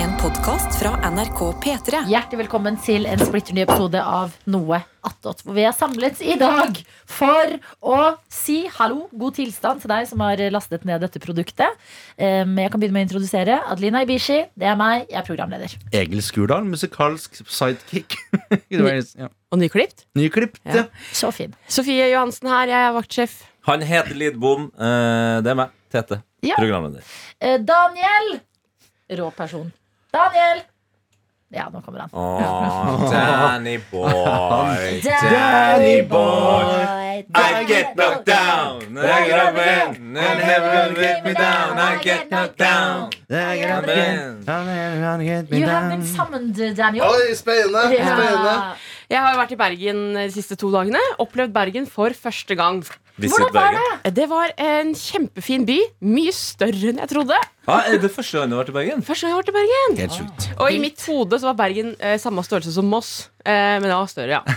En podkast fra NRK P3. Hjertelig velkommen til en splitter ny episode av Noe attåt. Hvor vi er samlet i dag for å si hallo, god tilstand til deg som har lastet ned dette produktet. Um, Jeg kan begynne med å introdusere Adelina Ibishi. Det er meg, jeg er programleder. Egil Skurdal, musikalsk sidekick. Det var- ja. Og nyklipt. Nyklipt, ja. Ja. Så fin. Sofie Johansen her, jeg er vaktsjef. Han heter Lidbom. eh, det er meg. Tete. Ja. Programleder. Eh, Daniel! Rå person. Daniel! Ja, nå kommer han. Åh, Danny boy. Danny boy. I Danny get knocked down. I get up and and heaven let me down. I get knocked down. Amen. You eh, have been summoned, Daniel. Oi, spennende! spennende. Ja. Jeg har jo vært i Bergen de siste to dagene. Opplevd Bergen for første gang. Visit Bergen. Det var en kjempefin by. Mye større enn jeg trodde. Ah, er det første gang du har vært i Bergen? Første gang jeg har vært i Bergen. Helt sjukt. Og i mitt hode så var Bergen eh, samme størrelse som Moss. Eh, men det var større, ja.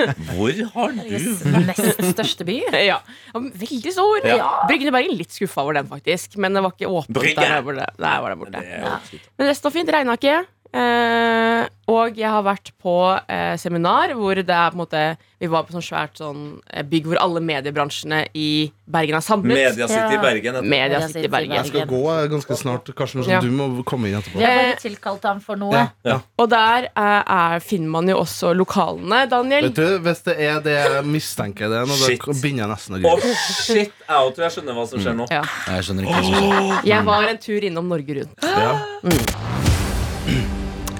ja. Hvor har du Nest største by. ja. Ja, men Veldig stor. Ja. Bryggen i Bergen litt skuffa over den, faktisk. Men det var ikke åpent Brygge. der borte. Nei, var der borte. Det er jo shit. Men resten var fint, regna ikke. Eh, og jeg har vært på eh, seminar hvor det er på en måte Vi var på sånn svært sånn eh, bygg hvor alle mediebransjene i Bergen er samlet. Media City Ja. i Bergen. heter det. Media sitter i Bergen. Jeg skal gå eh, ganske snart, Karsten, så Ja. du må komme inn etterpå. Vi Eh, har bare tilkalt ham for noe. Ja. Ja. Og der eh, er, finner man jo også lokalene, Daniel. Vet du, Hvis det er det jeg mistenker det er, nå, Shit. da begynner jeg nesten å Åh, grine. shit. Jeg tror jeg skjønner hva som skjer nå. Ja. Jeg skjønner ikke hva som skjer. Jeg var en tur innom Norge Rundt. Ja.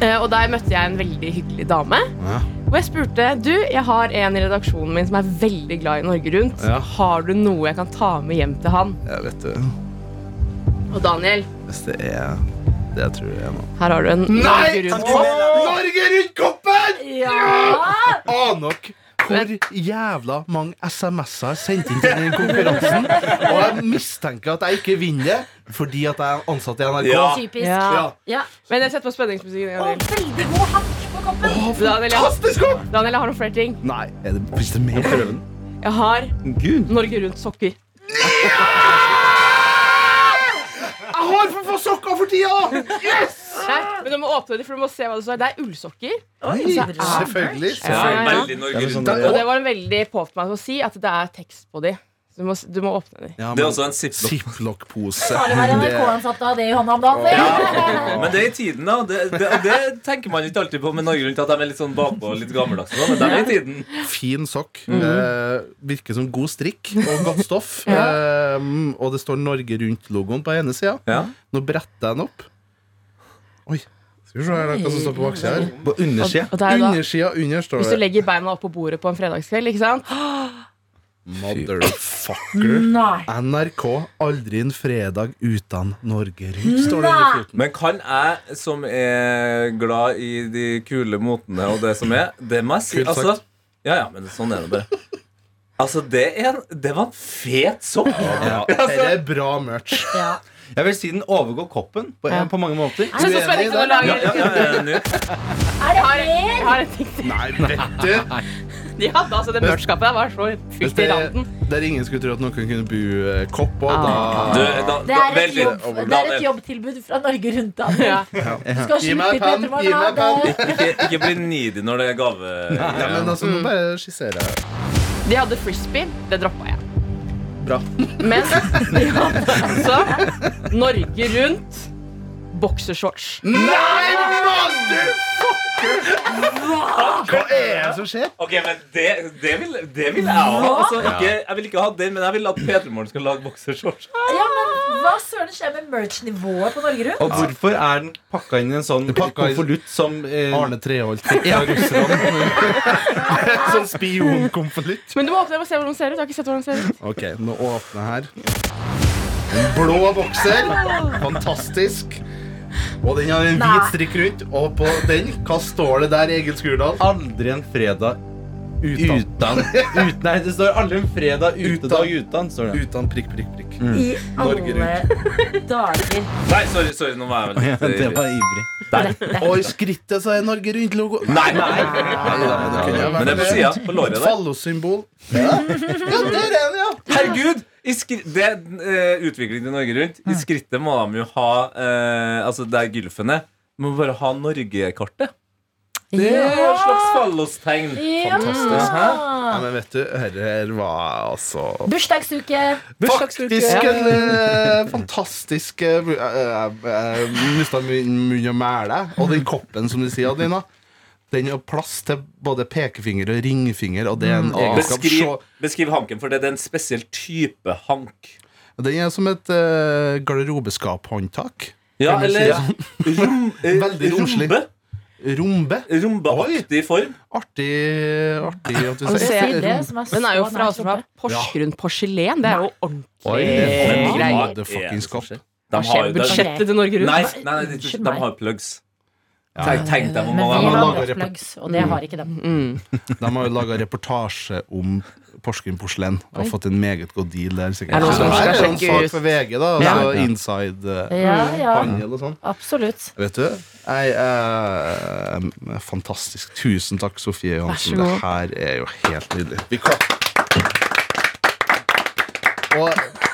Eh, og der møtte jeg en veldig hyggelig dame. Ja. Og jeg spurte du, jeg har en i redaksjonen min som er veldig glad i Norge Rundt. Ja. Har du noe jeg kan ta med hjem til han? Jeg vet du, Og Daniel, Hvis det er det jeg tror det er nå her har du en Norge Rundt. Norge Rundt-koppen! Ja! Aner dere hvor jævla mange SMS-er jeg sendte inn til den konkurransen? Og jeg mistenker at jeg ikke vinner det fordi at jeg er ansatt i NRK. Ja. Typisk. Ja. Ja. Ja. Men jeg setter på spenningsmusikken. en gang Og til. veldig god hakk på koppen. Daniel, jeg, Fantastisk opp! Daniel, jeg har noen flere ting. Nei, er det, hvis det er mer? Prøv den. Jeg har Gud. Norge Rundt-sokker. Jeg har for få sokker for tida! Yes! Nei, Men du må åpne dem, for du må se hva det står. Det er ullsokker. Selvfølgelig. Det Ja, er ja. Veldig Norge sånn rundt. der, Og det var en veldig på for meg å si at det er tekst på dem. Du må, du må åpne dem. Ja, Det men er også en ziplock. Ziplock-pose. Farlig å være NRK-ansatt og ha det i hånda om dagen. Men det er i tiden, da. Det, det, og det tenker man ikke alltid på med Norge Rundt. At de er litt sånn bakpå og litt gammeldagse. da, Men de er i tiden. Fin sokk. eh, virker som god strikk og godt stoff. eh, og det står Norge Rundt-logoen på ene sida. Ja. Nå bretter jeg den opp. Oi. Skal vi se her, hva som står på baksida her. På undersida. Og det er da, Undersida under står hvis du det legger beina oppå bordet på en fredagskveld, ikke sant? Motherfucker. Nei. NRK aldri en fredag uten Norge Rundt, står det Nei. under foten. Men kan jeg, som er glad i de kule motene og det som er Det må jeg si. Kult sagt. Altså, ja, ja, men sånn er det bare. Altså, det, er en, det var en fet sokk. Ja. altså- Dette er bra merch. Ja. Jeg vil si den overgår koppen på, på mange måter. Så så spenning til å Ja, ja, lage ja, ja, nå. Er det mer? Jeg har en ting til. Nei, vet du! De hadde altså det mørskapet der var så Hvis fylt i det, randen. der ingen skulle tro at noen kunne bu eh, kopp på, Ah. Du, da da, Det da, er, et vent litt. jobb, det er et jobbtilbud fra Norge Rundt. Da. Du Ja. skal Gi slutte i meg penn, Petermann, gi ha meg det. Ikke, ikke bli needy når det er gave. Ja, men altså, Mm. nå bare skisserer jeg. De hadde frisbee. Det droppa jeg. Bra. Men de hadde altså Norge Rundt boksershorts. Nei, motherfucker! Hva er det som skjer? Ok, men det, det, vil, det vil jeg ha. Altså, ikke, jeg vil ikke ha den, men jeg vil at Petermoren skal lage boksershorts. Ja, men hva søren skjer med merch-nivået på Norge Rundt? Og hvorfor er den pakka inn i en sånn Pakka i- konvolutt som eh, Arne Treholt fikk av russerne. Sånn spionkonvolutt. Men du må åpne dem og se hvordan de ser ut. Jeg har ikke sett hvordan de ser ut. Ok, nå åpner jeg her. En blå bokser. Fantastisk. Og den har en Nei. hvit strikk rundt. Og på den, hva står det der, Egil Skurdal? Aldri en fredag Utan. utan ut, Nei, det står aldri en fredag utedag utan. Står det. Utan prikk, prikk, prikk. I Norge alle dager. Nei, sorry, sorry, nå var jeg vel litt Det var ivrig. Og i skrittet så er Norge Rundt-logo. Nei, nei. Men det er på sida. På låret der. Fallossymbol. Ja, der er den, ja. Herregud! I skri det er eh, utvikling til Norge Rundt. I skrittet må de jo ha eh, Altså, der gylfen er, må bare ha Norge-kartet. Det Ja. er et slags fallostegn. Ja. Fantastisk. Hæ? Ja, men vet du, herre her var altså Bursdagsuke. Bursdagsuke. Faktisk Ja. en eh, fantastisk eh, bu- eh, eh, Jeg mista munn og mæle. Og den koppen som du sier, Adelina, den har plass til både pekefinger og ringfinger, og det er Mm. en egenskap Beskriv, Sjå- beskriv hanken, for det er en spesiell type hank. Den er som et eh, garderobeskaphåndtak. Ja, Kan du si eller rom, eh, Veldig romslig. rombe. Rombe. Rombeaktig form. Artig, artig at du Altså, sier Si det, som er så Den er jo fra, nært også fra oppe. Porsgrunn porselen. Det er jo Oi, ordentlig men hva greier. er det som Motherfucking skap. skjer? Hva De har skjer jo med budsjettet til Norge Nei, Rundt? nei, nei de, Unnskyld de meg. har plugs. Ja. Tenk, tenk deg hvor Men man vi mange har lager Black rep- Plugs, og det har ikke dem. Mm. De har jo laga reportasje om Porsgrunn porselen. Og fått en meget god deal der. sikkert. Er det noen som Så skal her er det en sjekke sak ut? for VG, da. Ja. Altså inside eh, Ja, ja, handel og sånn. absolutt. Vet du, jeg eh, Fantastisk. Tusen takk, Sofie Johansen. Det Vær så god. her er jo helt nydelig. Vi klapper. Og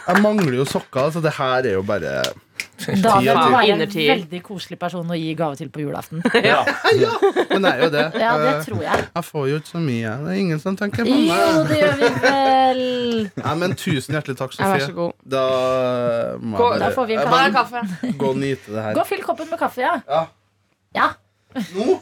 jeg mangler jo sokker, så det her er jo bare Da vil du være en Innertier. veldig koselig person å gi gave til på julaften. Ja. Men det er jo det. Ja, det Eh, tror jeg. Jeg får jo ikke så mye. Det er ingen som tenker på Jo, meg. det gjør vi vel. Nei, men tusen hjertelig takk, Ja, vær så Sofie. god. Da må Gå- jeg Da får vi en jeg kaffe. må Ta en kaffe. Gå og nyte det her. Gå og fyll koppen med kaffe, ja. Ja. Ja, Nå?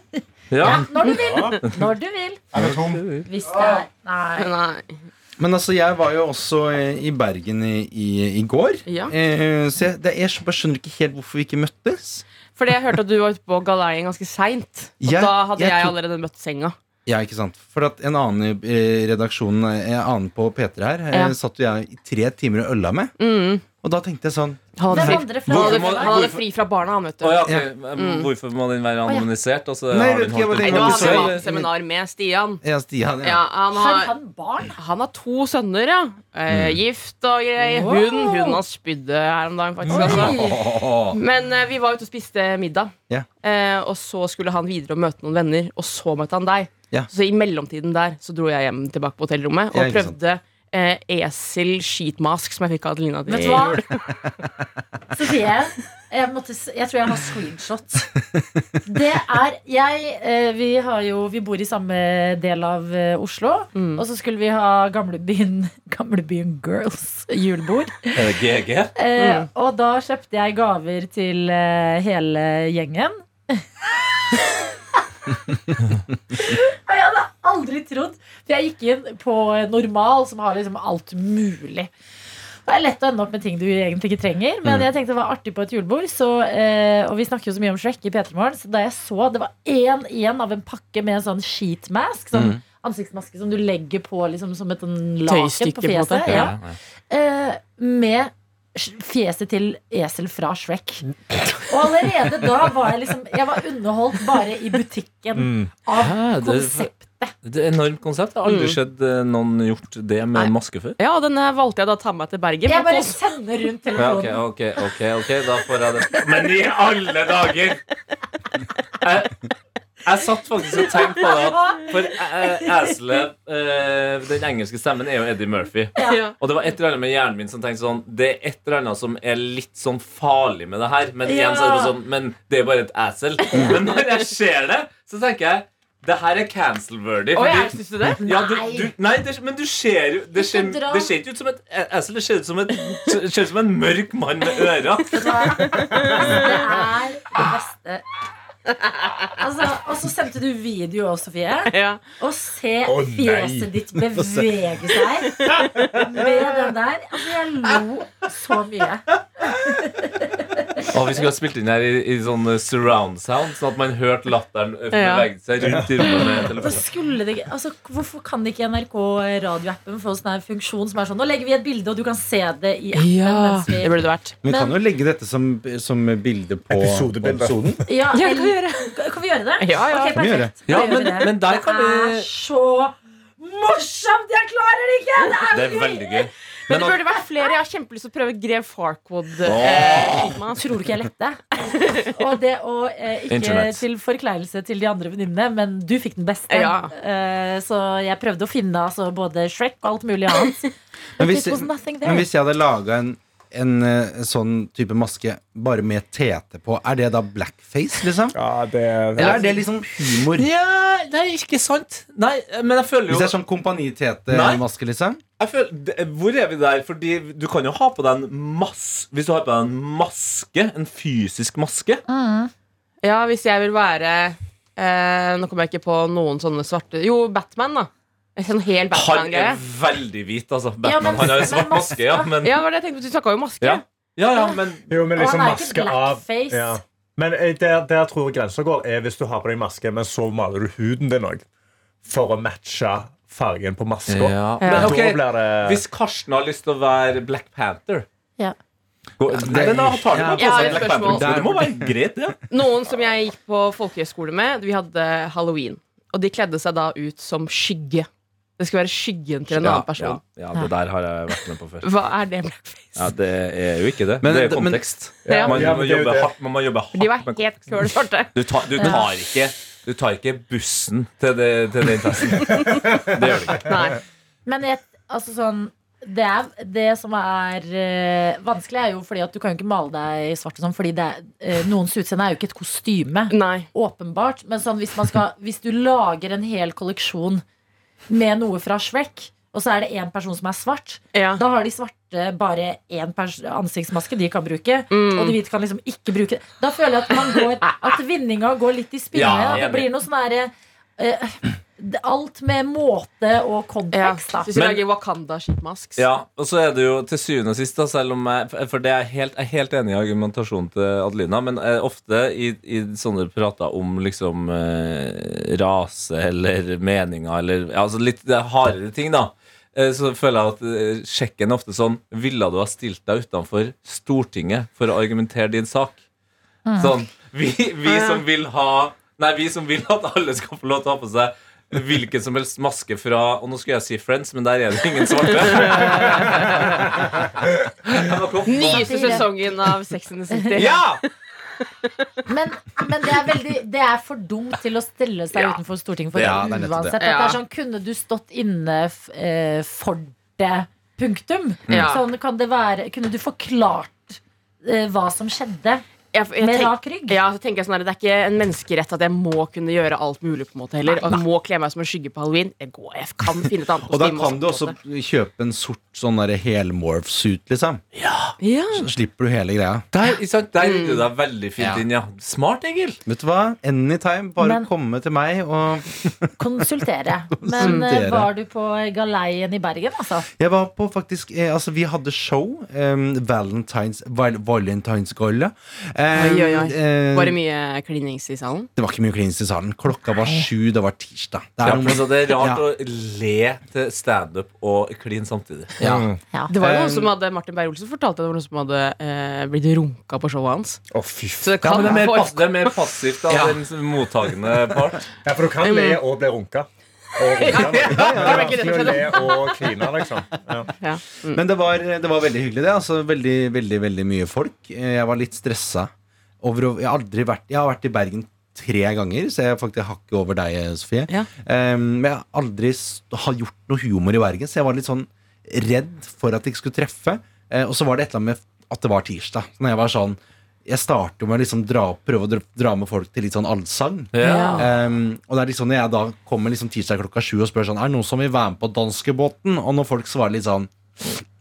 Ja. ja når du vil. Når du vil. Er det tom? Hvis det er Nei. Nei. Men altså, jeg var jo også eh, i Bergen i, i, i går. Ja. Eh, så jeg, det, jeg skj- bare skjønner ikke helt hvorfor vi ikke møttes. Fordi jeg hørte at du var ute på galeien ganske seint. Og Jeg- da hadde jeg jeg, tok- allerede møtt senga. Ja, ikke sant? For at en annen i eh, redaksjonen, eh, en annen på P3 her, eh, Ja. Mm. satt jo jeg i tre timer og ølla med. Og da tenkte jeg sånn Han Hvem hadde, andre fri, han fra hadde, Hvorfor må- han hadde fri fra barna, han, vet du. Å, ja, ok. Ja. Men Hvorfor må den være ja. anonymisert? Altså, Nei, har jeg vet den ikke, jeg holdt Mm. bare Nei, nå et tenker- hadde besøk? jeg hatt seminar med Stian. Ja, Stian. Ja, Ja. han, Har har, han barn? han har to sønner, ja. Eh, Mm. gift og greier. Wow. Hun, hun har spydde her om dagen, faktisk. Altså. Åh. Men eh, vi var ute og spiste middag. Ja. Eh, og så skulle han videre og møte noen venner, og så møtte han deg. Ja. Så i mellomtiden der så dro jeg hjem tilbake på hotellrommet og Ja, ikke sant. prøvde eh, esel sheetmask som jeg fikk av Adelina. til Vet du jul. hva? Sofie, jeg, måtte, s- jeg tror jeg har screenshot. Det er jeg eh, Vi, har jo, vi bor i samme del av eh, Oslo. Og så skulle vi ha Gamlebyen, gamlebyen Girls julebord. Er det GG? Eh, Mm. Og da kjøpte jeg gaver til eh, hele gjengen. Og jeg hadde aldri trodd For jeg gikk inn på normal, som har liksom alt mulig. Det er lett å ende opp med ting du egentlig ikke trenger, Mm. men jeg tenkte det var artig på et julebord. Så, eh, og vi snakker jo så mye om Shrek i P3 Morgen, så da jeg så det var én igjen av en pakke med en sånn sheetmask, sånn ansiktsmaske som du legger på liksom, som et sånn laken Mm. Tøystykke, på på en måte. fjeset. Ja. Eh, med sj- fjeset til esel fra Shrek. Og allerede da var jeg liksom Jeg var underholdt bare i butikken av Hæ, det- konsept. Det er et enormt konsept. Jeg har Mm. aldri sett eh, noen gjort det med Nei. en maske før. Ja, og denne valgte jeg da å ta med meg til Bergen. Jeg bare Og så- sender rundt Ja, ok, telefonen. ok, ok, ok, da får jeg det. Men i alle dager! Jeg, jeg satt faktisk og tenkte på det. at- For eh, eselet eh, Den engelske stemmen er jo Eddie Murphy. ja. Og det var et eller annet med hjernen min som tenkte sånn Det er et eller annet som er litt sånn farlig med det her. Men Ja. igjen så er det bare sånn Men det er bare et esel. Men når jeg ser det, så tenker jeg det her er cancel-worthy. Å, fordi- jeg syns du det? ja, du, du, nei, det, men du ser jo Det ser, dra. det ser ikke ut som et esel, det ser ut som, et, det ser ut som en mørk mann med ører. Det er det beste. Altså, og så sendte du video òg, Sofie. Ja. Å se Å, nei. fjeset ditt bevege seg med den der. Altså, jeg lo så mye. Og vi skulle ha spilt inn her i, i sånn eh, surround sound, sånn at man hørte latteren eh, Ja. bevege seg rundt i rommet med Da telefonen. skulle det, ikke- altså, hvorfor kan ikke NRK radioappen få sånn her funksjon som er sånn Nå legger vi et bilde, og du kan se det i appen. mens Det vi, burde det vært. Men vi kan jo legge dette som, som bilde på Episodebilde. på episoden. ja, Ja, eller- kan vi gjøre. kan vi gjøre det? Ja, ja. Ok, Kan vi gjøre perfekt. Ja, Da gjør vi men- det. men der kan vi- Det er så morsomt! Jeg klarer det ikke! Det er veldig gøy. Men det Men at- burde vært flere. Jeg har kjempelyst til å prøve Grev Farquad. Eh, sheetmask. Tror du ikke jeg lette? Og det å eh, ikke Internett. til forkleinelse til de andre venninnene, men du fikk den beste. Ja. Eh, så jeg prøvde å finne altså, både Shrek og alt mulig annet. Men But hvis, it was nothing there. men hvis jeg hadde laga en en eh, sånn type maske bare med tete på, er det da blackface, liksom? Ja, det Eller er det liksom humor? Ja, nei, ikke sant. Nei, men jeg føler Hvis jo det er sånn Nei. kompanitete-maske, liksom? jeg føler, det- Hvor er vi der? Fordi du kan jo ha på deg en maske Hvis du har på deg en maske, en fysisk maske Ja, hvis jeg vil være eh, Nå kommer jeg ikke på noen sånne svarte Jo, Batman, da. En sånn hel Han er Batman-greie. veldig hvit, altså. Batman. Ja, men- han har en svart men maske, ja. Men, Ja, det var det jeg tenkte på. Du snakka jo maske. ja. ja, ja, men Jo, men liksom han er ikke maske av blackface. ja. Men eh, der, der tror jeg grensa går, er hvis du har på deg maske, men så maler du huden din òg. For å matche fargen på maska. ja. Men Da ok, blir det Hvis Karsten har lyst til å være Black Panther Ja. Gå, nei, men da tar du med på Ja, seg et Black Panther. spørsmål. Det må være greit, det. Ja. Noen som jeg gikk på folkehøyskole med, vi hadde halloween. Og de kledde seg da ut som skygge. Det skulle være skyggen til en annen person. Ja, ja, det der har jeg vært med på før. Hva er det blackface? Ja, Det er jo ikke det. Men- det er jo men- kontekst. Ja. Man, Ja, må men det er jo jobbe det. hardt, man må jobbe hardt De var med helt køl svarte. Du tar, du tar ikke Du tar ikke bussen til, det, til den testen. Det gjør du ikke. Nei. Men jeg, altså sånn det, er, det som er eh, vanskelig, er jo fordi at du kan jo ikke male deg i svart. Og sånn, fordi det er, eh, noens utseende er jo ikke et kostyme. Nei. Åpenbart. Men sånn, hvis, man skal, hvis du lager en hel kolleksjon med noe fra Shrek, og så er det én person som er svart, Ja. da har de svarte bare én pers- ansiktsmaske de kan bruke. Mm. Og de hvite kan liksom ikke bruke det. Da føler jeg at, man går, at vinninga går litt i spinne. at Ja, det enig. blir noe sånn derre eh, det- Alt med måte og Ja. kontekst, da. Hvis vi Men- lager Wakanda sheetmasks. Ja, og så er det jo til syvende og sist, da, selv om jeg For det er jeg helt, jeg er helt enig i argumentasjonen til Adelina, men eh, ofte i, i sånne prater om liksom eh, rase eller meninger eller ja, altså litt det er hardere ting, da. eh, Så føler jeg at eh, sjekken er ofte sånn Ville du ha stilt deg utenfor Stortinget for å argumentere din sak? Mm. Sånn, vi, Ah, vi som vil ha Nei, vi som vil at alle skal få lov til å ha på seg hvilken som helst maske fra Og nå skulle jeg si Friends, men der er det ingen svarte. Jeg må komme på- Nyeste sesongen av Sex and the City. Ja! Men, men det, er veldig, det er for dumt til å stille seg utenfor Stortinget for Ja, det er det, nettopp det. uansett. At det Ja. er sånn, kunne du stått inne f- eh, for det? Punktum. Mm. Ja. Sånn kan det være. Kunne du forklart eh, hva som skjedde Jeg, jeg med tenk- rak rygg? ja, så tenker jeg sånn her, Det er ikke en menneskerett at jeg må kunne gjøre alt mulig. på en måte heller Og jeg må kle meg som en skygge på halloween. Jeg, går, jeg kan finne et annet Og da kostyme kan du på også en måte. kjøpe en sort sånn derre helmorph-suit, liksom. ja. Så slipper du hele greia. Der, ikke sant? der gikk du deg veldig fint Ja. inn, ja. Smart, Egil. Vet du hva? Anytime. Bare Men- komme til meg og Konsultere. Men eh, Konsultere. var du på galeien i Bergen, altså? Jeg var på faktisk eh, Altså, vi hadde show. em, Valentines val Valentinesgalla. Em, Oi, oi, oi. em, eh, Var det mye klinings i salen? det var ikke mye klinings i salen. Klokka var sju, det var tirsdag. Det er Ja, noe men med- så det er rart Ja. å le til standup og kline samtidig. ja. Ja. Det var jo Um, noen som hadde, Martin Beyer-Olsen fortalte at det var noen som hadde eh, blitt runka på showet hans. Å, fy f- Så det Ja, kan men det er mer, få- pass, det er mer passivt av Ja. den mottagende part. Ja, for du kan le og bli runka. Og runka. Det er vanskelig å le og kline, liksom. Ja. ja. Men det var, det var veldig hyggelig, det. Altså, veldig, veldig veldig mye folk. Eh, Jeg var litt stressa. Over, å- jeg, har aldri vært, jeg har vært i Bergen tre ganger, så jeg er faktisk hakket over deg, Sofie. Ja. Eh, men jeg har aldri s- har gjort noe humor i Bergen, så jeg var litt sånn redd for at jeg ikke skulle treffe. Eh, og så var det et eller annet med at det var tirsdag. Så når jeg var sånn Jeg starter jo med å liksom dra, opp- prøve å dra, dra med folk til litt sånn allsang. Ja. Um, og det er liksom når jeg da kommer liksom tirsdag klokka sju og spør sånn Er det noen som vil være med på danskebåten? Og når folk svarer litt sånn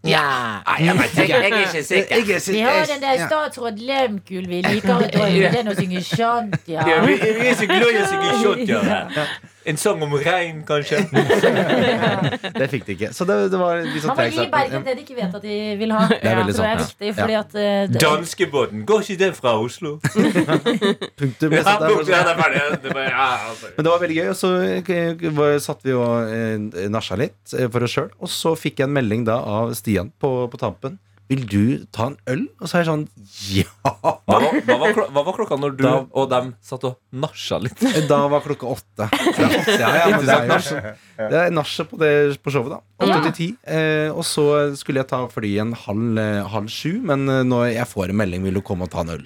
Ja Nei, jeg vet ikke. Jeg er ikke sikker. Vi har den der statsråd Lehmkuhl vi liker å dra i den og synge sjant, ja. Ja, vi, vi er så glad i å synge shotgun. En sang om regn, kanskje? Det fikk de ikke. Så det, det var litt sånn Man må treg gi Bergen start. det de ikke vet at de vil ha. Det er veldig tror jeg er sant, viktig, ja. fordi at eh, det- Danskebåten, går ikke den fra Oslo? Punktum. Ja, Så det bort, er ja, fortsatt- det er ferdig. Det er bare- ja, altså. Men det var veldig gøy, og så eh, var- satt vi og eh, nasja litt eh, for oss sjøl. Og så fikk jeg en melding da av Stian på, på tampen. Vil du ta en øl? Og så er jeg sånn Ja! Hva var, hva, var klok- hva var klokka når du Da- og dem satt og nasja litt? Da var klokka åtte. Fra åtte, Ja, ja, men det er jo det er nachspiel på, det- på showet, da. Åtte til ti. Eh, og så skulle jeg ta fly en halv, eh, halv sju, men eh, når jeg får en melding, vil du komme og ta en øl.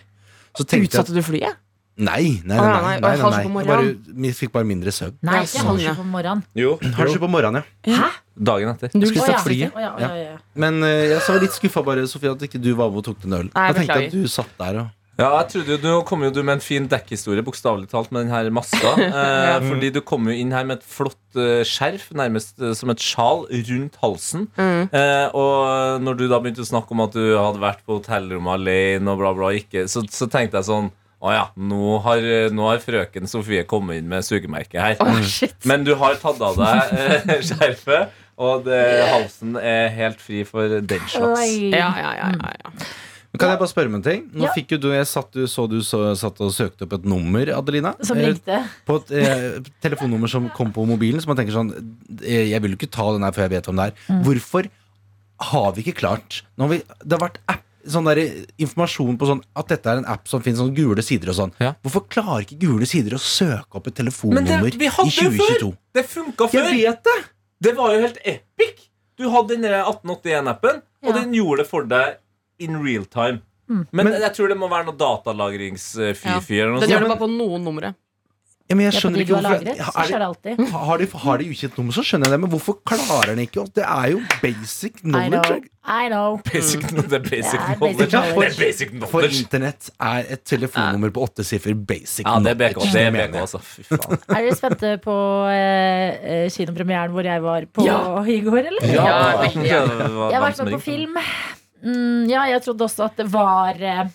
Så tenkte jeg Utsatte du flyet? Nei, nei, nei. Å, Ah, nei, nei, nei, og nei, halv sju på nei. Bare, morgenen. vi fikk bare mindre søvn. Nei, Ja, ikke sånn, halv sju ja. på morgenen. Jo, Halv sju på morgenen, ja. dagen etter. Skulle Å, ja, tatt flyet. riktig. Å, ja, å, ja, å, ja. Men eh, jeg så var litt skuffa bare, Sofie, at ikke du var med og tok den ølen. Nei, jeg tenkte beklager. at du satt der og Ja, jeg trodde jo, Nå kom jo du med en fin dekkhistorie, bokstavelig talt, med den her maska. Eh, fordi du kom jo inn her med et flott eh, skjerf, nærmest eh, som et sjal, rundt halsen. Eh, og når du da begynte å snakke om at du hadde vært på hotellrommet alene, og bla, bla, ikke, så, så tenkte jeg sånn Å ja, nå har, eh, nå har frøken Sofie kommet inn med sugemerket her. Å, shit. Men du har tatt av deg eh, skjerfet, og det, halsen er helt fri for den slags. Oi. Ja, ja, ja, ja, ja. Men Kan jeg bare spørre om en ting? Nå Ja. fikk jo du, jeg satt, du, så du så, satt og søkte opp et nummer, Adelina. Som Eh, ringte. På et eh, telefonnummer som kom på mobilen. Så man tenker sånn eh, Jeg vil jo ikke ta den her før jeg vet hvem det er. Mm. Hvorfor har vi ikke klart Nå har vi, Det har vært app, sånn der, eh, informasjon på sånn at dette er en app som finnes sånn gule sider og sånn. Ja. Hvorfor klarer ikke gule sider å søke opp et Men det, telefonnummer vi hadde i jo før! 2022? Det funka Jeg før! vet det! Det var jo helt epic! Du hadde den der Ja. 1881-appen, Mm. og den gjorde det for deg in real time. Men, Men- jeg tror det må være noe datalagringsfy-fy eller noe Den gjør det sånt. bare på noen numre. Ja, men jeg Det er på skjønner de du ikke har hvorfor lagret. Så skjer er det, det alltid. har, de, har de ukjent nummer, så skjønner jeg det, men hvorfor klarer den ikke? Det er jo basic I know. knowledge. I know. Basic, det er basic Det er basic knowledge. Det knowledge. er basic For knowledge. internett er et telefonnummer på åtte siffer basic Ja, det er BK, knowledge, det er mener BK jeg. altså. Fy faen. Er dere spente på eh, eh, kinopremieren hvor jeg var på Ja. i går, eller? Ja, Ja, veldig. det var Jeg har hvem vært som med på ringte. film. Mm, ja, jeg trodde også at det var eh,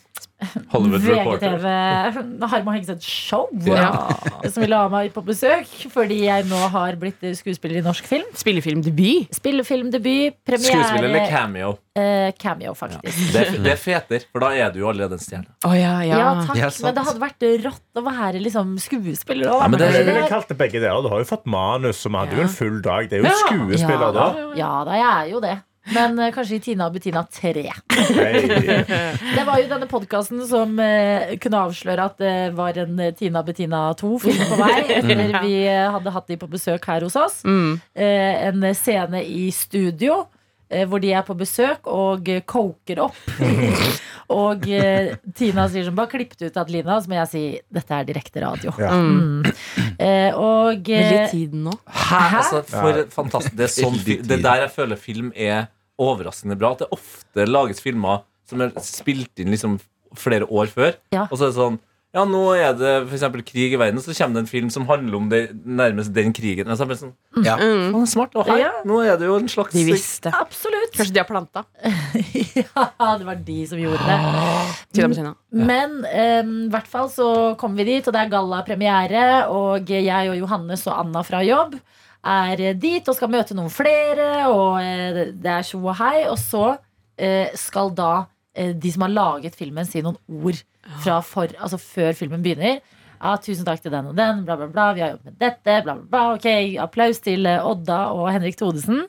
Hollywood Reporter. VGTV Harma Hegseth Show Ja. som ville ha meg på besøk fordi jeg nå har blitt skuespiller i norsk film. Spillefilmdebut. Spillefilmdebut, premiere Skuespiller eller cameo? eh, cameo, faktisk. Det, er- det er feter, for da er du jo allerede en stjerne. Å, ja, Ja, ja. takk, Ja, sant. men det hadde vært rått å være liksom skuespiller. Ja, Da, men Men det- jeg ville kalt det begge deler. Du har jo fått manus, og vi hadde jo en full dag. Det er jo Ja. skuespiller, da. ja da, jeg er jo det. Men eh, kanskje i Tina og Bettina 3. Hei. Det var jo denne podkasten som eh, kunne avsløre at det var en eh, Tina Bettina 2-film på vei. Etter vi eh, hadde hatt de på besøk her hos oss. Mm. Eh, en scene i studio eh, hvor de er på besøk og eh, coker opp. og eh, Tina sier sånn Bare klipp det ut, Adelina. Så må jeg si dette er direkte radio. Ja. Mm. Eh, og Vil eh, litt tiden nå. Hæ? Altså, for Ja. fantastisk Det er sånn fi- Veldig Det tid. der jeg føler film er overraskende bra. At det ofte lages filmer som er spilt inn liksom flere år før. Ja. Og så er det sånn Ja, nå er det f.eks. krig i verden, og så kommer det en film som handler om det, nærmest den krigen. Og så er det bare sånn, Ja. «Å, det er smart, og her, Ja. Nå er det jo en slags De visste. Absolutt! Kanskje de har planta. ja, det var de som gjorde det. Tida på sina. Men em, i hvert fall så kommer vi dit, og det er gallapremiere. Og jeg og Johannes og Anna fra jobb er dit og skal møte noen flere. Og eh, det er tjo og hei. Og så eh, skal da eh, de som har laget filmen, si noen ord fra for, altså før filmen begynner. Ja, tusen takk til den og den, bla, bla, bla. Vi har jobbet med dette, bla, bla, bla. Ok, applaus til eh, Odda og Henrik Thodesen.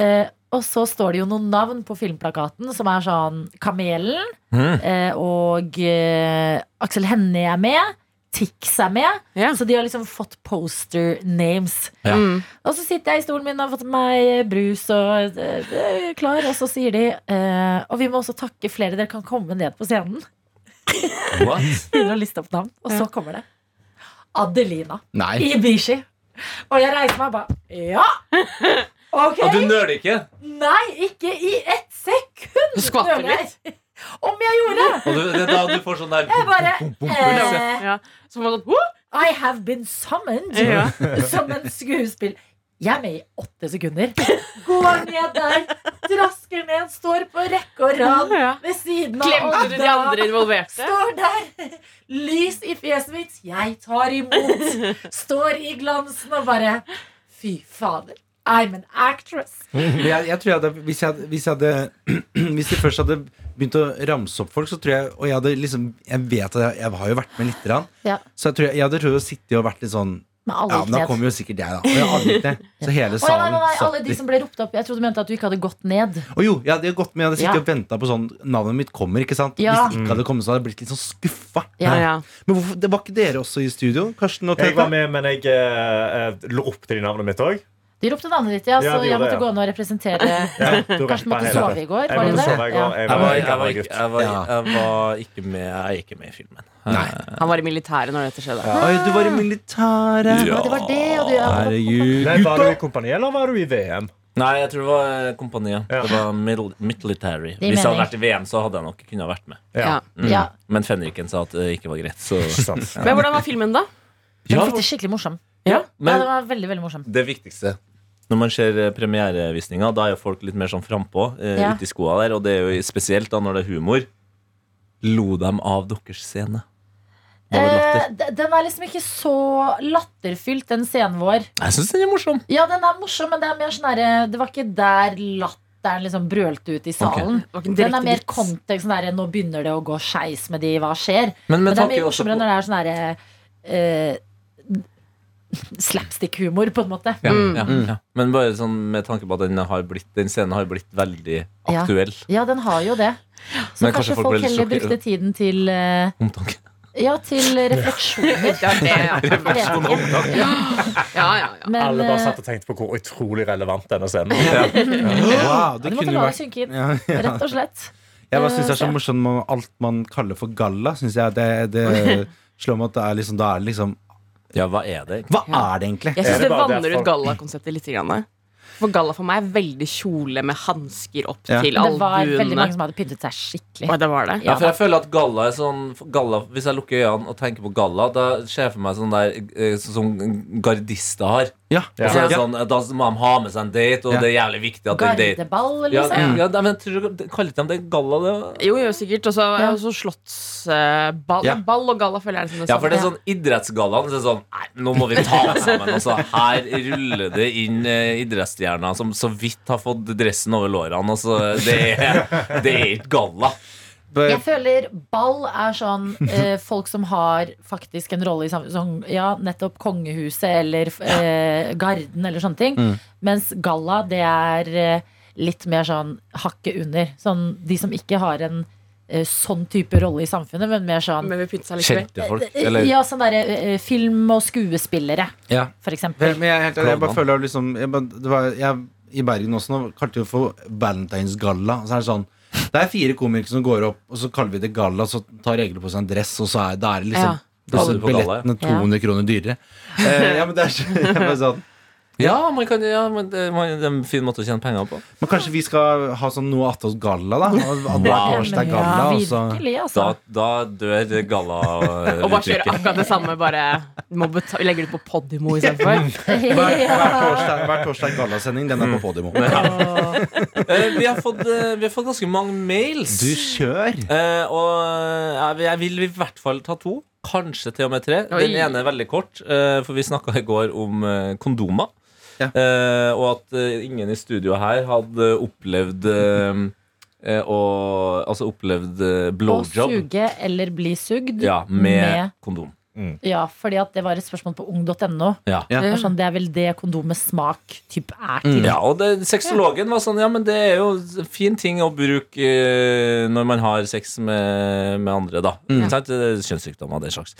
Eh, og så står det jo noen navn på filmplakaten, som er sånn Kamelen. Eh, og eh, Aksel Hennie er med. Tix er med. Ja. Så de har liksom fått poster names. Ja. Mm. Og så sitter jeg i stolen min og har fått meg eh, brus og eh, eh, klar, og så sier de eh, Og vi må også takke flere. Dere kan komme ned på scenen. Mm. What? Begynner å liste opp navn. Og så kommer det. Adelina Nei. Ibishi. Og jeg reiser meg og bare Ja! Ok! Og du nøler ikke? Nei, ikke i ett sekund! Du skvatter nøler jeg. Om jeg gjorde! Og du, det er da du får sånn der Jeg bare eh, Ja. Så var det sånn «Woo!» I have been summoned Ja. som en skuespill. Jeg er med i åtte sekunder. Går ned der, trasker ned, står på rekke og rad Ja. ved siden av Glemte du de Odda. andre involverte? Står der, lys i fjeset mitt, jeg tar imot. Står i glansen og bare Fy fader, I'm an actress. Jeg, jeg tror jeg hadde, hvis, jeg, hvis jeg hadde Hvis de først hadde begynt å ramse opp folk, så tror jeg Og jeg hadde liksom Jeg vet at jeg, jeg har jo vært med lite grann, Ja. så jeg tror jeg, jeg hadde trodd å sitte og vært litt sånn Med Ja, alle men da knep. kommer jo sikkert jeg, da. Og jeg hadde ikke det. Så hele Å, ja, nei, salen nei, nei, alle satt de litt som ble ropt opp. Jeg trodde du mente at du ikke hadde gått ned. Og jo, jeg hadde gått med, jeg hadde sittet Ja. og venta på sånn Navnet mitt kommer, ikke sant? Ja. Hvis det ikke hadde kommet, så hadde jeg blitt litt sånn skuffa. Ja, ja. Men hvorfor, det var ikke dere også i studio? Karsten og Jeg Tete? var med, men jeg eh, eh, ropte de navnet mitt òg. De ropte navnet ditt, ja, Ja, så de jeg gjorde måtte det, ja. gå ned og representere. Ja, du Karsten rappa måtte hele. sove i går, Jeg var det måtte det? sove i går. Ja. Jeg Jeg var var, en jeg, var, gammel ikke- gutt. jeg, var, Ja. jeg var ikke med Jeg er ikke med i filmen. Nei. Han var i militæret når dette skjedde. Oi, du var i militæret. Ja, det var det, og du ja. Herregud. Nei, var du i kompani, eller var du i VM? Nei, jeg tror det var eh, kompaniet. Ja. Det var mil- military. Det Hvis jeg mener hadde jeg. vært i VM, så hadde jeg nok kunnet ha vært med. Ja. Ja. Mm. Ja. Men fenriken sa at det ikke var greit, så Ikke sant. Men hvordan var filmen, da? Den Ja, fikk det skikkelig morsom. Ja. ja, Men det var veldig, veldig morsom. det viktigste når man ser eh, premierevisninga, da er jo folk litt mer sånn frampå eh, Ja. ute i skoa der, og det er jo spesielt da når det er humor. Lo dem av deres scene? Var det Eh, latter? d- den er liksom ikke så latterfylt, den scenen vår. Jeg syns den er morsom. Ja, den er morsom, men det er mer sånn derre Det var ikke der latteren liksom brølte ut i salen. var ikke Den en direkte er mer vits. kontekst sånn derre Nå begynner det å gå skeis med de, hva skjer? Men Men med det er tanke mye også morsommere på når det er sånn derre eh, Slapstick-humor, på en måte. ja, ja, ja. Men bare sånn med tanke på at den, har blitt, den scenen har blitt veldig Ja. aktuell. Ja, den har jo det. Så Men kanskje, kanskje folk folk ble litt heller sjokkert- brukte tiden til eh, Omtanke. Ja, til refleksjoner. Ja, det, ja. Jeg vet ikke. Ja, ja, ja. Men, Alle bare eh, satt og tenkte på hvor utrolig relevant denne scenen var. Wow, Ja, det du måtte kunne la det vært synke inn, ja, ja. rett og slett. Jeg bare synes det er så Ja. morsomt med alt man kaller for galla. Synes jeg det, det slår meg at det er liksom, da er det liksom Ja, hva er det? Hva er det egentlig? Jeg Er syns det det bare det at vanner ut folk- gallakonseptet litt. Grann. For galla for meg er veldig kjole med hansker opp Ja. til Det var veldig albuene. mange som hadde pyntet seg skikkelig. Oi, det var det? Ja, for jeg føler at galla er sånn galla, Hvis jeg lukker øynene og tenker på galla, da ser jeg for meg sånn der eh, sånn som gardister har. Ja. Altså, Og så er det Ja. sånn, eh, Da må de ha med seg en date, og Ja. det er jævlig viktig at den date Gardeball, ja, Mm. liksom. ja, nei, men jeg tror, Kaller ikke de det galla? Det? Jo, jo, sikkert. Og så Ja. og så slottsball. Ja. Ball og galla føler jeg er liksom det Ja, for det er samme. sånn idrettsgallaen. Så er det sånn, nei, nå må vi ta oss sammen. Altså, her ruller det inn eh, idrettsstjerner som så vidt har fått dressen over lårene. Altså, det, er- det er ikke galla. Jeg føler ball er sånn eh, folk som har faktisk en rolle i samfunnet. Sånn, ja, nettopp kongehuset eller eh, garden eller sånne ting. Mens galla, det er eh, litt mer sånn hakket under. Sånn de som ikke har en eh, sånn type rolle i samfunnet, men mer sånn Men vi pynter seg likevel. Kjente folk, eller Ja, sånn derre eh, film- og skuespillere, Ja. for eksempel. Vel, Men jeg, er helt, ærlig, jeg Klovnene. bare føler liksom jeg, bare- det var, jeg, I Bergen også nå kalte vi det for valentinsgalla. Og Så er det sånn Det er fire komikere som går opp, og så kaller vi det galla, så tar Egil på seg en dress, og så er da er det liksom Ja. da er Kaller du på galla, ja. billettene 200 kroner dyrere. Eh, ja, men det er så, jeg bare sånn Ja, man kan, ja men det, man, det er en fin måte å tjene penger på. Men kanskje vi skal ha sånn noe attåt galla, da? Annethvert Wow. årsdag galla, og så virkelig, altså. Da, da dør Og bare kjører galla-uttrykket. akkurat det samme, bare må beta- legger det på Podimo istedenfor. Hver, hver torsdag, hver torsdag gallasending, den er Mm. på Podimo. Eh, vi, har fått, eh, vi har fått ganske mange mails. Du kjør! Eh, og eh, jeg vil i hvert fall ta to. Kanskje til og med tre. Oi. Den ene er veldig kort, eh, for vi snakka i går om eh, kondomer. Ja. Eh, og at eh, ingen i studio her hadde opplevd eh, eh, å, Altså opplevd eh, Å blowjob suge eller bli sugd. ja, med, med- kondom. Ja, fordi at det var et spørsmål på ung.no. Ja. Ja. Det var Sånn, det er vel det kondomets smak typ er Mm. til. Ja, og det, sexologen var sånn Ja, men det er jo en fin ting å bruke eh, når man har sex med, med andre, da. Ikke sant? Det er Kjønnssykdommer og det slags.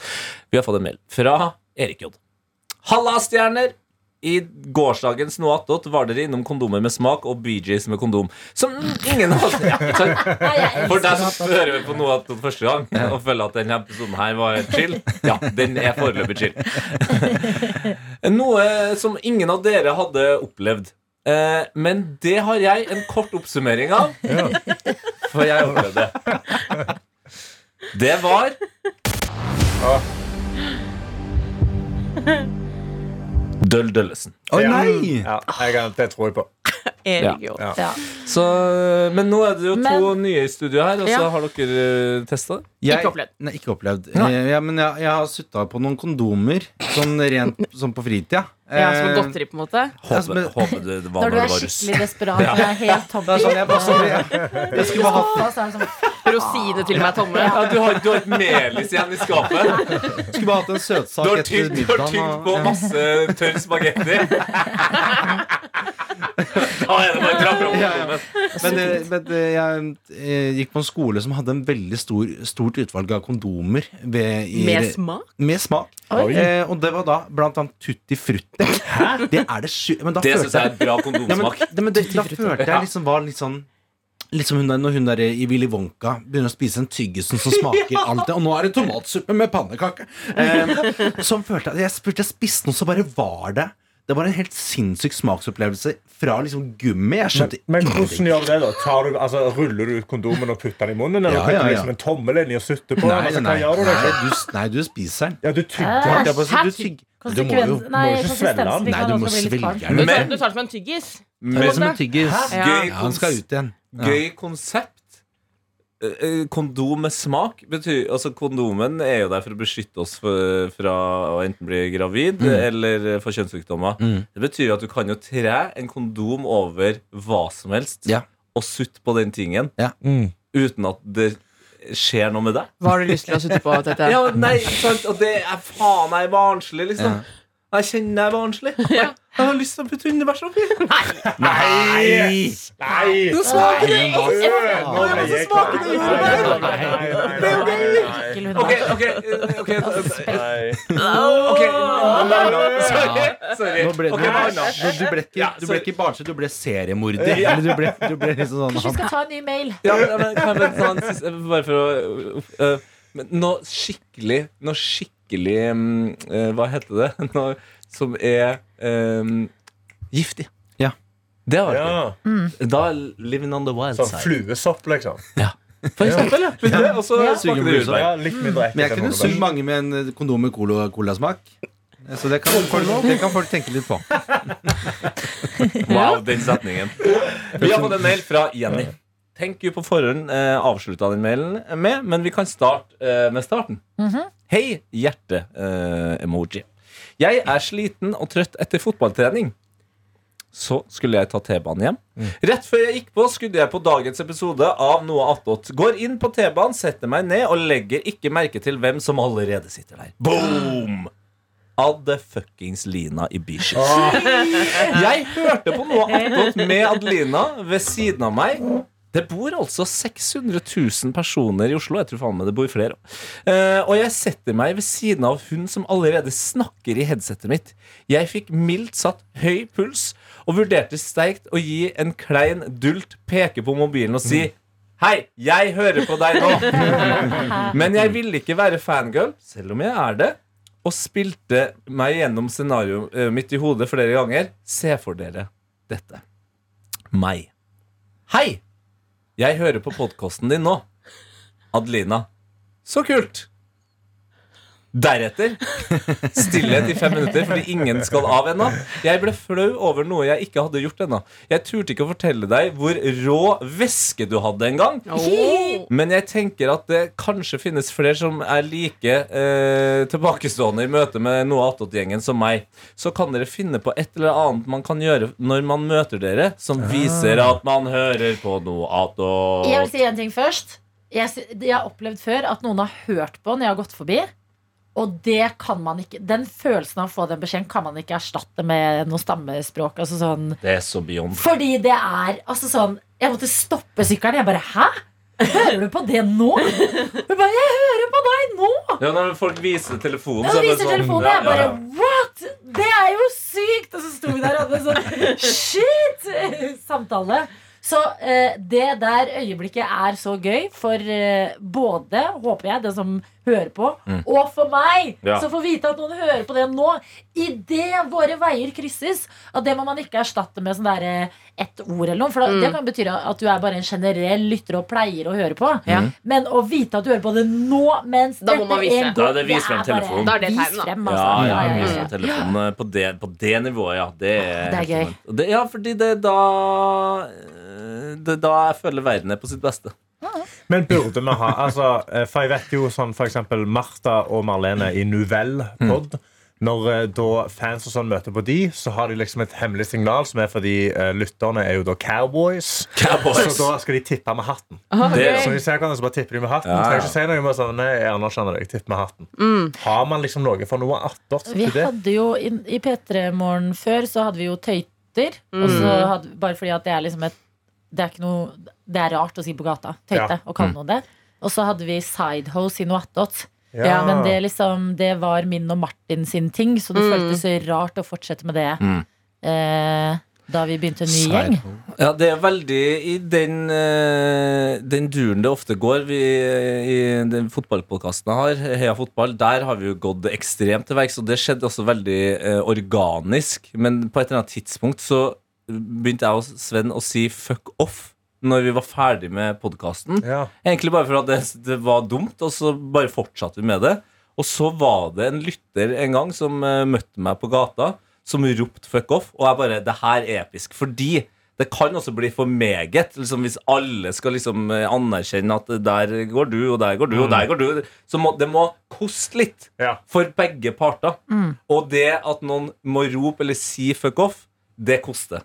Vi har fått en mail fra Erik J. Halla, stjerner! I gårsdagens Noe attåt var dere innom kondomer med smak og BJs med kondom. Som ingen har ja, ikke sant? Nei, jeg For deg elsker som hatt- hører på noe attåt første gang og føler at denne episoden her var chill, ja, den er foreløpig chill. Noe som ingen av dere hadde opplevd. Eh, Men det har jeg en kort oppsummering av. For jeg opplevde det. Det var Døll-døllesen. Å nei! Ja, jeg, kan- det tror jeg på. Erik, jo. Ja. Ja. Så, eh, men nå er det jo to nye i studio her, og så Ja. har dere testa det. Jeg, Ikke opplevd. Nei, ikke opplevd. Nei. Eh, Ja, men jeg, jeg har sutta på noen kondomer, sånn rent sånn på fritida. Ja, som Eh, er godteri, på en måte. Altså, Håper, men- håper det var Når du er det var russ. skikkelig desperat og er helt tom det er sånn, jeg, bare, sånn, jeg, jeg skulle bare hatt så er det sånn, Rosiner til og med er tomme. Ja, du har, du har et melis igjen i skapet. skulle bare hatt en Du søtsak har etter tygd du har middagen. tygd og- på ja. masse tørr spagetti. Da er det bare å trappe opp. Ja, ja. Men, eh, men eh, jeg eh, gikk på en skole som hadde en veldig stor, stor stort utvalg av kondomer ved, i, Med smak? med smak. Oi. Eh, og det var da blant annet Tutti Frutti. Det er det sju... Men da Det følte syns jeg er jeg et bra Nei, men, kondomsmak. nei, men det, Da følte jeg liksom var litt sånn Litt som hun der, når hun der i Willy Wonka begynner å spise en tyggisen som smaker alt det. Og nå er det tomatsuppe med pannekake! Eh, som følte jeg, jeg spurte jeg spiste noe, så bare var det Det var en helt sinnssyk smaksopplevelse fra liksom gummi. Jeg skjønte Men hvordan ingenting. gjør du det, da? Tar du, altså, ruller du ut kondomen og putter den i munnen? Eller Ja, putter ja, du ja. liksom en tommel inn i og sutter på? Nei, altså, nei, nei, hva gjør du? nei, liksom? du, s- nei, du spiser den. Ja, du tygger. Æsj. den. Jeg bare sier, du tygger- Du må jo Konsekven- nei, må jo ikke svelge den. konsistensen Nei, kan du må også bli litt svelge kvalm. den. Du Men- tar, du tar det som en tyggis? Det er Men som en tyggis. Ja. gøy, Ja, han skal ut igjen. Ja. gøy konsept. Eh, eh, Kondom med smak betyr Altså Kondomen er jo der for å beskytte oss for, fra å enten bli gravid eller eh, få kjønnssykdommer. Mm. Det betyr at du kan jo tre en kondom over hva som helst Ja. og sutte på den tingen Mm. uten at det skjer noe med deg. Hva har du lyst til å sutte på? Tete? Ja, nei, sant, og det er faen jeg er barnslig, liksom. Ja. Jeg kjenner jeg er barnslig. Jeg, jeg har lyst til å putte underbæsj oppi. Nei! Nei! Nå smaker det Nå ble jeg Nå er det så smaker det Nei, nei, nei, nei, nei, nei, Ekkel Ok, hundevær. ok, eh, ok, eh, nei. ok. Sorry. sorry. Nå ble, Ok, nå, noe annet. nå, du ble ikke, Ja, du ble sorry. ikke barnslig, du ble seriemorder. Eller du ble, du ble liksom sånn Kanskje vi skal ta en ny mail? Ja, men, men, kan jeg bare ta en siste Bare for å øh, men Noe skikkelig Noe skikkelig mm, øh, Hva heter det? Noe som er øhm, giftig. Ja. Det har vært Ja. gøy. Da er Living on the wild Sånn side. fluesopp, liksom. For eksempel, ja. Men det- Og så Ja. smaker det Suger blusa. jordbær. Ja, litt mindre Men jeg ekkelt. enn kunne hundebæsj. sugd mange med en eh, kondom med cola- colasmak. Så det kan, folk, det kan folk tenke litt på. Wow, den setningen. Vi har fått en mail fra Jenny. Tenk jo på forhånd eh, avslutta den mailen med, men vi kan starte eh, med starten. Hei, hjerte-emoji. jeg er sliten og trøtt etter fotballtrening. Så skulle jeg ta T-banen hjem. Rett før jeg gikk på, skulle jeg på dagens episode av Noe attåt. Går inn på T-banen, setter meg ned og legger ikke merke til hvem som allerede sitter der. Boom! Adde fuckings Lina i Bishop. Jeg hørte på noe attåt med Adelina ved siden av meg. Det bor altså 600 000 personer i Oslo. Jeg tror faen meg det bor flere. Eh, og jeg setter meg ved siden av hun som allerede snakker i headsetet mitt. Jeg fikk mildt satt høy puls og vurderte sterkt å gi en klein dult, peke på mobilen og si Hei, jeg hører på deg nå! Men jeg ville ikke være fangirl, selv om jeg er det og spilte meg gjennom scenarioet eh, mitt i hodet flere ganger. Se for dere dette. Meg. Hei! Jeg hører på podkasten din nå. Adelina. Så kult! Deretter stillhet i fem minutter fordi ingen skal av ennå. Jeg ble flau over noe jeg ikke hadde gjort ennå. Jeg turte ikke å fortelle deg hvor rå væske du hadde en gang. Åh. Men jeg tenker at det kanskje finnes flere som er like eh, tilbakestående i møte med noe attåt-gjengen som meg. Så kan dere finne på et eller annet man kan gjøre når man møter dere, som viser at man hører på noe Jeg vil attåt. si en ting først. Jeg, sy- jeg har opplevd før at noen har hørt på når jeg har gått forbi. Og det kan man ikke Den følelsen av å få den beskjeden kan man ikke erstatte med noe stammespråk. Altså sånn, Det er så beyond. fordi det er altså sånn Jeg måtte stoppe sykkelen. Jeg bare Hæ? Hører du på det nå? Hun bare, jeg hører på deg nå! Ja, når folk viser telefonen, Og så så er det viser sånn telefonen, og ja, jeg ja, bare ja. What?! Det er jo sykt! Og så sto vi der og hadde en sånn shit samtale. Så eh, det der øyeblikket er så gøy for eh, både, håper jeg, den som hører på, og for meg, Ja. som får vite at noen hører på det nå. Idet våre veier krysses. At det må man ikke erstatte med sånn derre ett ord eller noe. For da, Mm. det kan bety at du er bare en generell lytter og pleier å høre på. Mm. Men å vite at du hører på det nå mens Da må man vise. en god- Da er det vis frem bare- telefonen. Da er det vis tegn, da. frem, altså. Ja, ja, Ja, ja, ja. viser telefonen eh, på det, på det nivået, ja. Det er, Ah, Det er gøy. Og Det, ja, fordi det er da eh, Det er da jeg føler verden er på sitt beste. Men burde vi ha altså, eh, For jeg vet jo sånn for eksempel Martha og Marlene i Nuvell-pod. Mm. Når eh, da fans og sånn møter på de, så har de liksom et hemmelig signal, som er fordi eh, lytterne er jo da cowboys. Så da skal de tippe med hatten. Det, Så de ser hverandre, så bare tipper de med hatten. Ja, ja. Trenger ikke si noe, bare sånn, nei, jeg anerkjenner deg, tipp med hatten. Har man liksom noe for noe attåt Mm. Vi til det? hadde jo i, i P3-morgen før så hadde vi jo tøyter. Og så Mm. hadde, bare fordi at det er liksom et Det er ikke noe Det er rart å si på gata. Tøyte. Ja. Mm. Og kalle noe det. Og så hadde vi sidehose i noe attåt. Ja. Ja, men det, liksom, det var min og Martin sin ting, så det Mm. føltes rart å fortsette med det Mm. eh, da vi begynte en ny gjeng. Ja, det er veldig i den, eh, den duren det ofte går. Vi, eh, I den fotballpodkasten jeg har, Heia fotball, der har vi jo gått ekstremt til verks. Og det skjedde også veldig eh, organisk. Men på et eller annet tidspunkt så begynte jeg og Sven å si fuck off når vi var ferdig med podkasten. Ja. Egentlig bare for at det, det var dumt, og så bare fortsatte vi med det. Og så var det en lytter en gang som eh, møtte meg på gata, som ropte 'fuck off', og jeg bare 'det her er episk'. Fordi det kan også bli for meget. Liksom, hvis alle skal liksom eh, anerkjenne at der går du, og der går du, og der går du, så må det må koste litt Ja. for begge parter. Og det at noen må rope eller si fuck off, det koster.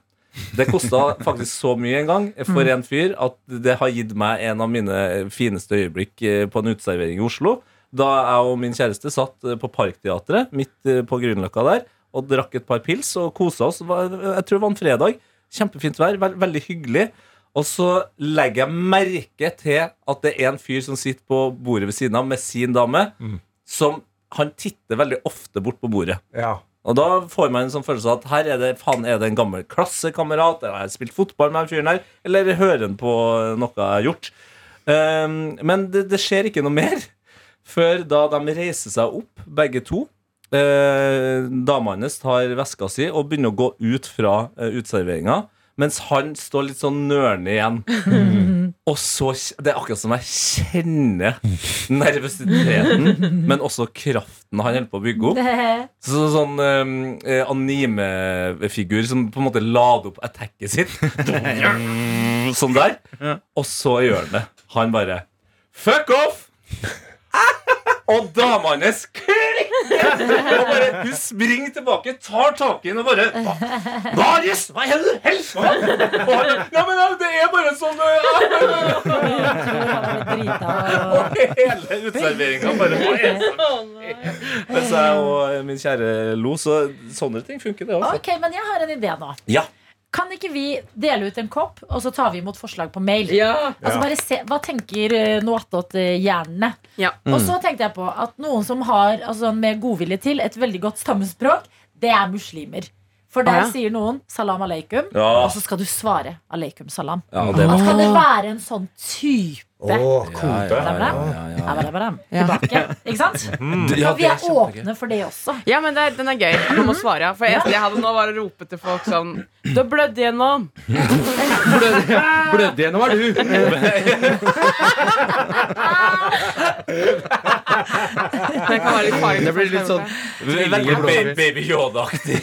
Det kosta faktisk så mye en gang for en fyr at det har gitt meg en av mine fineste øyeblikk eh, på en uteservering i Oslo. Da jeg og min kjæreste satt eh, på Parkteatret midt eh, på Grünerløkka der og drakk et par pils og kosa oss. Det var- Jeg tror det var en fredag. Kjempefint vær. Vel- Veldig hyggelig. Og så legger jeg merke til at det er en fyr som sitter på bordet ved siden av med sin dame, som han titter veldig ofte bort på bordet. Ja. Og da får man en sånn følelse av at her er det, faen, er det en gammel klassekamerat, eller har jeg spilt fotball med den fyren her, eller hører han på noe jeg har gjort? Ehm, men det, det skjer ikke noe mer før da de reiser seg opp, begge to. Eh, Dama hans tar veska si og begynner å gå ut fra eh, uteserveringa, mens han står litt sånn nørende igjen. Og så Det er akkurat som jeg kjenner nervøsiteten, men også kraften han holder på å bygge opp. Så, sånn um, eh, anime-figur som på en måte lader opp attacket sitt. sånn der. Og så gjør han det. Han bare Fuck off! Og dama hans klikker! Og bare, hun springer tilbake, tar tak i ham og bare «Hva- Marius, hva er det du holder på med? Og han, Ja, men ja, det er bare sånn eh, Drita, og- Og hele uteserveringa bare Hva er det som sånn- skjer?» Mens jeg og min kjære lo, så sånne ting funker, det også. Ok, men jeg har en idé nå. Ja. Kan ikke vi dele ut en kopp, og så tar vi imot forslag på mail? Ja. Altså Ja. bare se, Hva tenker eh, noattot-hjernene? Ja. Og så tenkte jeg på at noen som har altså, med godvilje til et veldig godt stammespråk, det er muslimer. For der Å, ja. sier noen 'salam aleikum', Ja. og så skal du svare 'aleikum salam'. Ja, det At kan det være en sånn type Å, kode. ja, ja, abadabadam, tilbake? Ikke sant? Mm. For vi er åpne for det også. Ja, men det, er- den er gøy. Man må svare. ja. For jeg, jeg hadde nå bare ropet til folk sånn Du har blødd igjennom. Blødde gjennom er du! Det kan være litt farlig. Det blir litt sånn Veldig ba- Baby Yoda-aktig.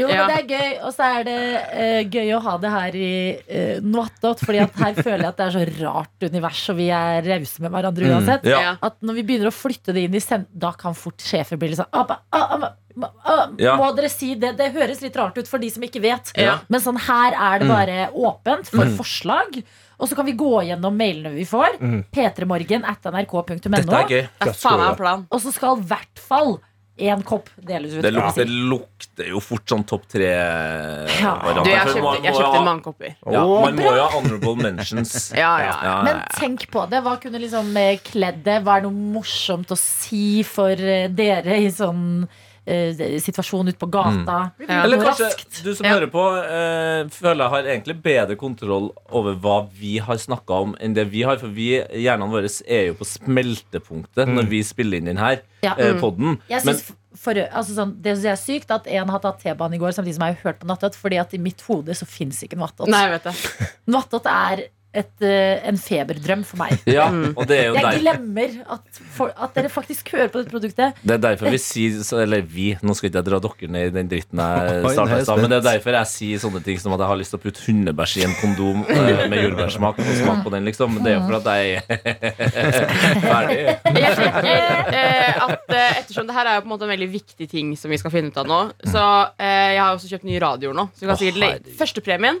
Jo, Ja. men det er gøy, og så er det eh, gøy å ha det her i uh, Noattot, Fordi at her føler jeg at det er så rart univers, og vi er rause med hverandre uansett. Ja. Ja. At når vi begynner å flytte det inn i send... Da kan fort sjefer bli litt sånn «Ah, ba- ah, ah, ma- ah, Ja. Må dere si det? Det høres litt rart ut for de som ikke vet. Ja. Men sånn her er Mm. det bare åpent for forslag. Og så kan vi gå gjennom mailene vi får. p3morgen at nrk.no. Mm. gøy. Det er faen meg en plan. Og så skal i hvert fall én kopp deles ut. Det lukter, lukter jo fort sånn topp tre. eh, Ja. varianter. Du, jeg For kjøpte, man jeg må jo kjøpte ha- mange kopper. ja, Man må jo ha honorable mentions. Ja, ja. Men tenk på det. Hva kunne liksom eh, kledd det? Hva er noe morsomt å si for eh, dere i sånn eh, situasjon ute på gata? Ja. Mm. Eller Noe kanskje raskt. du som Ja. hører på, eh, føler jeg har egentlig bedre kontroll over hva vi har snakka om, enn det vi har. For vi, hjernene våre er jo på smeltepunktet når vi spiller inn den her Ja. eh, Mm. podden. Jeg Men- synes f- for, altså sånn, det synes jeg er sykt at en har tatt T-banen i går samtidig som jeg har hørt på Nattot, fordi at i mitt hode så fins ikke Nattot. Nei, jeg vet det. Nattot er et, eh, en feberdrøm for meg. Ja, Mm. og det er jo Jeg der, glemmer at, for, at dere faktisk hører på dette produktet. Det er derfor vi sier så- Eller vi, nå skal ikke jeg dra dere ned i den dritten jeg Oi, nå er startet i jeg stad, men det er spent. derfor jeg sier sånne ting som at jeg har lyst til å putte hundebæsj i en kondom eh, med jordbærsmak og smak på den, liksom. Men det er jo for at jeg er ferdig. Jeg tenker eh, at eh, ettersom det her er jo på en måte en veldig viktig ting som vi skal finne ut av nå, så eh, jeg har også kjøpt nye radioer nå. Så vi kan Å, sikkert legge herregud. Førstepremien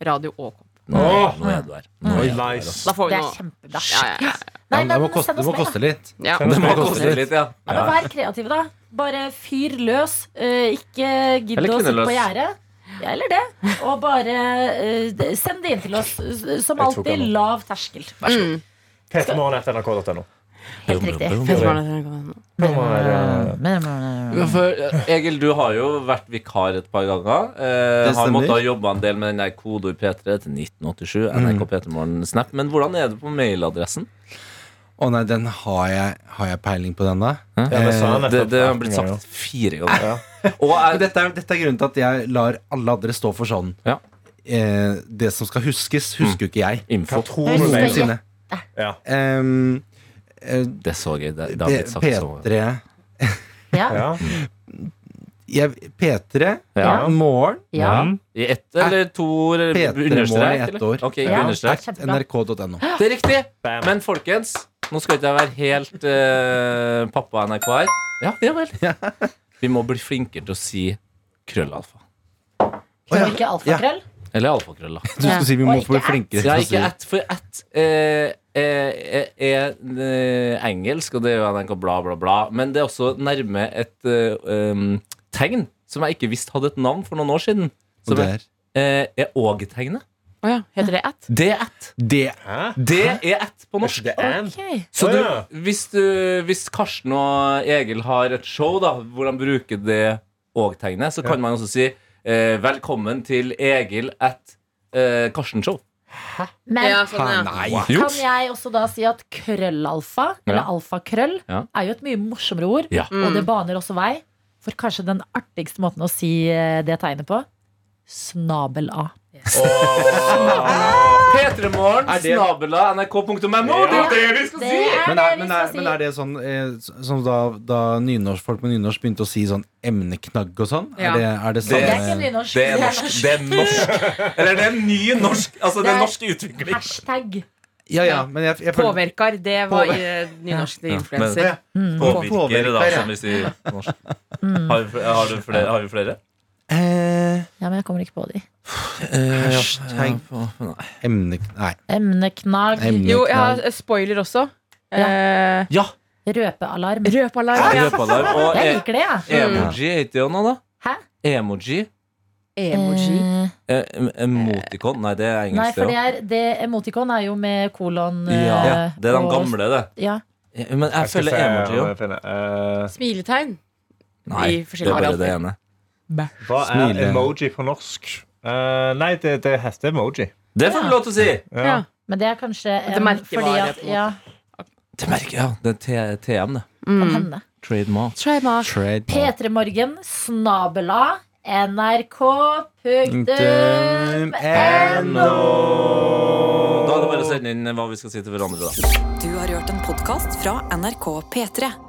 radio og kopp. Nå, Åh! nå er du her. Nå Oi, er du her. nice. Da får vi Det er noe. kjempebra. Ja, ja, Nei, Ja, men det må men koste, send det oss må mail, da. koste litt. ja. ja. Det må koste litt, ja. Ja, men Vær kreative, da. Bare fyr løs. Eh, ikke gidd Eller å sitte kvinneløs. på gjerdet. Ja, eller det. Og bare eh, d- send det inn til oss. S- Som Jeg tok alltid, den nå. lav terskel. Vær så god. P3morgen.nrk.no. Helt riktig. Eh, Ja, For eh, Egil, du har jo vært vikar et par ganger. Eh, Det har måttet stemmer. ha jobba en del med den der kodeord P3 til 1987. Mm. NRK P3 Morgen Snap. Men hvordan er det på mailadressen? Å nei, den har jeg, har jeg peiling på den da? Ja, det sa han Det, nettopp. det har blitt sagt fire ganger. Ja. Og Men jeg, dette, er, dette er grunnen til at jeg lar alle andre stå for sånn. Ja. Eh, det som skal huskes, husker jo ikke jeg. info. Hva tror Jeg du husker med? ikke. Noensinne. Ja. Em, eh, Det så jeg. Det, det har blitt sagt så P3 Mm. Ja. Ja. jeg, P3 Ja. morgen ja. I ett eller to ord, eller P3 må understrek? i ett eller? år. Ok, ikke Ja. understrek. at nrk.no. Det er riktig! Bam. Men folkens, nå skal ikke jeg være helt eh, pappa NRK her. Ja, ja vel. Vi må bli flinkere til å si krøllalfa. Krøll, ikke alfakrøll. Eller alfakrølla. Du skulle si vi må få bli flinkere til Ja, å si ikke ett, for ett eh, eh, eh, er eh, engelsk, og det er jo NRK bla, bla, bla. Men det er også nærme et eh, um, tegn som jeg ikke visste hadde et navn for noen år siden. Og Som det er, er- eh, er åg-tegnet. Å ja. Heter det ett? Det er ett. Det Hæ? Det er ett på norsk. Det er en. Ok. Så Å, du, ja. hvis, du, hvis Karsten og Egil har et show, da, hvor de bruker det åg-tegnet, så kan man også si eh, 'Velkommen til Egil at eh, Karsten-show'. Men Ja, sånn, Hæ, ja. Nei. kan jeg også da si at krøllalfa, eller Ja. alfakrøll, Ja. er jo et mye morsommere ord. Ja. Og det baner også vei for kanskje den artigste måten å si eh, det tegnet på. Snabel-a. P3morgen, Er det- snabela, nrk.no. Det er jo det vi skal Det si! er Men det er, vi men, skal er, si. men er det sånn eh, s- som da, da nynorsk, folk med nynorsk begynte å si sånn emneknagg og sånn? Ja. Er det, er det Det er ikke samme nynorsk. Det er norsk. Det er norsk. Eller det er en ny norsk. Altså, det Det er er- norsk utvikling. Hashtag. Ja, ja, men jeg, jeg føler Påvirker, det var eh, nynorsk til influenser. Mm. Påvirker, da, Påvirker, ja. som vi sier på norsk. Har vi, har du flere? Har vi flere? eh, Ja, men jeg kommer ikke på de. Hashtag emnek... Nei. Emneknagg. Emne- Jo, jeg har eh, spoiler også. Eh, Ja! Røpealarm. Røpalarm. Ja. Røpalarm. Og Jeg e liker det, jeg. emoji heter jo nå, da. Hæ? Emoji. Emoji. Eh, Eh, em- emoticon. Nei, det er Nei, engelsk, for det det òg. er det, Emoticon er jo med kolon eh, Ja, det er den og- gamle, det. Ja. Ja, Men jeg skal føler se emoji om òg. jeg finner. Eh, Smiletegn. Nei, i det er forskjellige bare det varianter. ene. hva er Smile. emoji på norsk? Eh, nei, det, det heter emoji. Det får du lov til å si! Ja. Ja. Men det er kanskje Det em, merker fordi bare, at på en måte. Ja, Det merker jeg. ja. Det er T- TM, det. kan hende. Mm. Trademark. Trademark. Trade. P3morgen, snabela, nrk.no. No. Da er det bare å sende inn hva vi skal si til hverandre, da. Du har hørt en podkast fra NRK P3.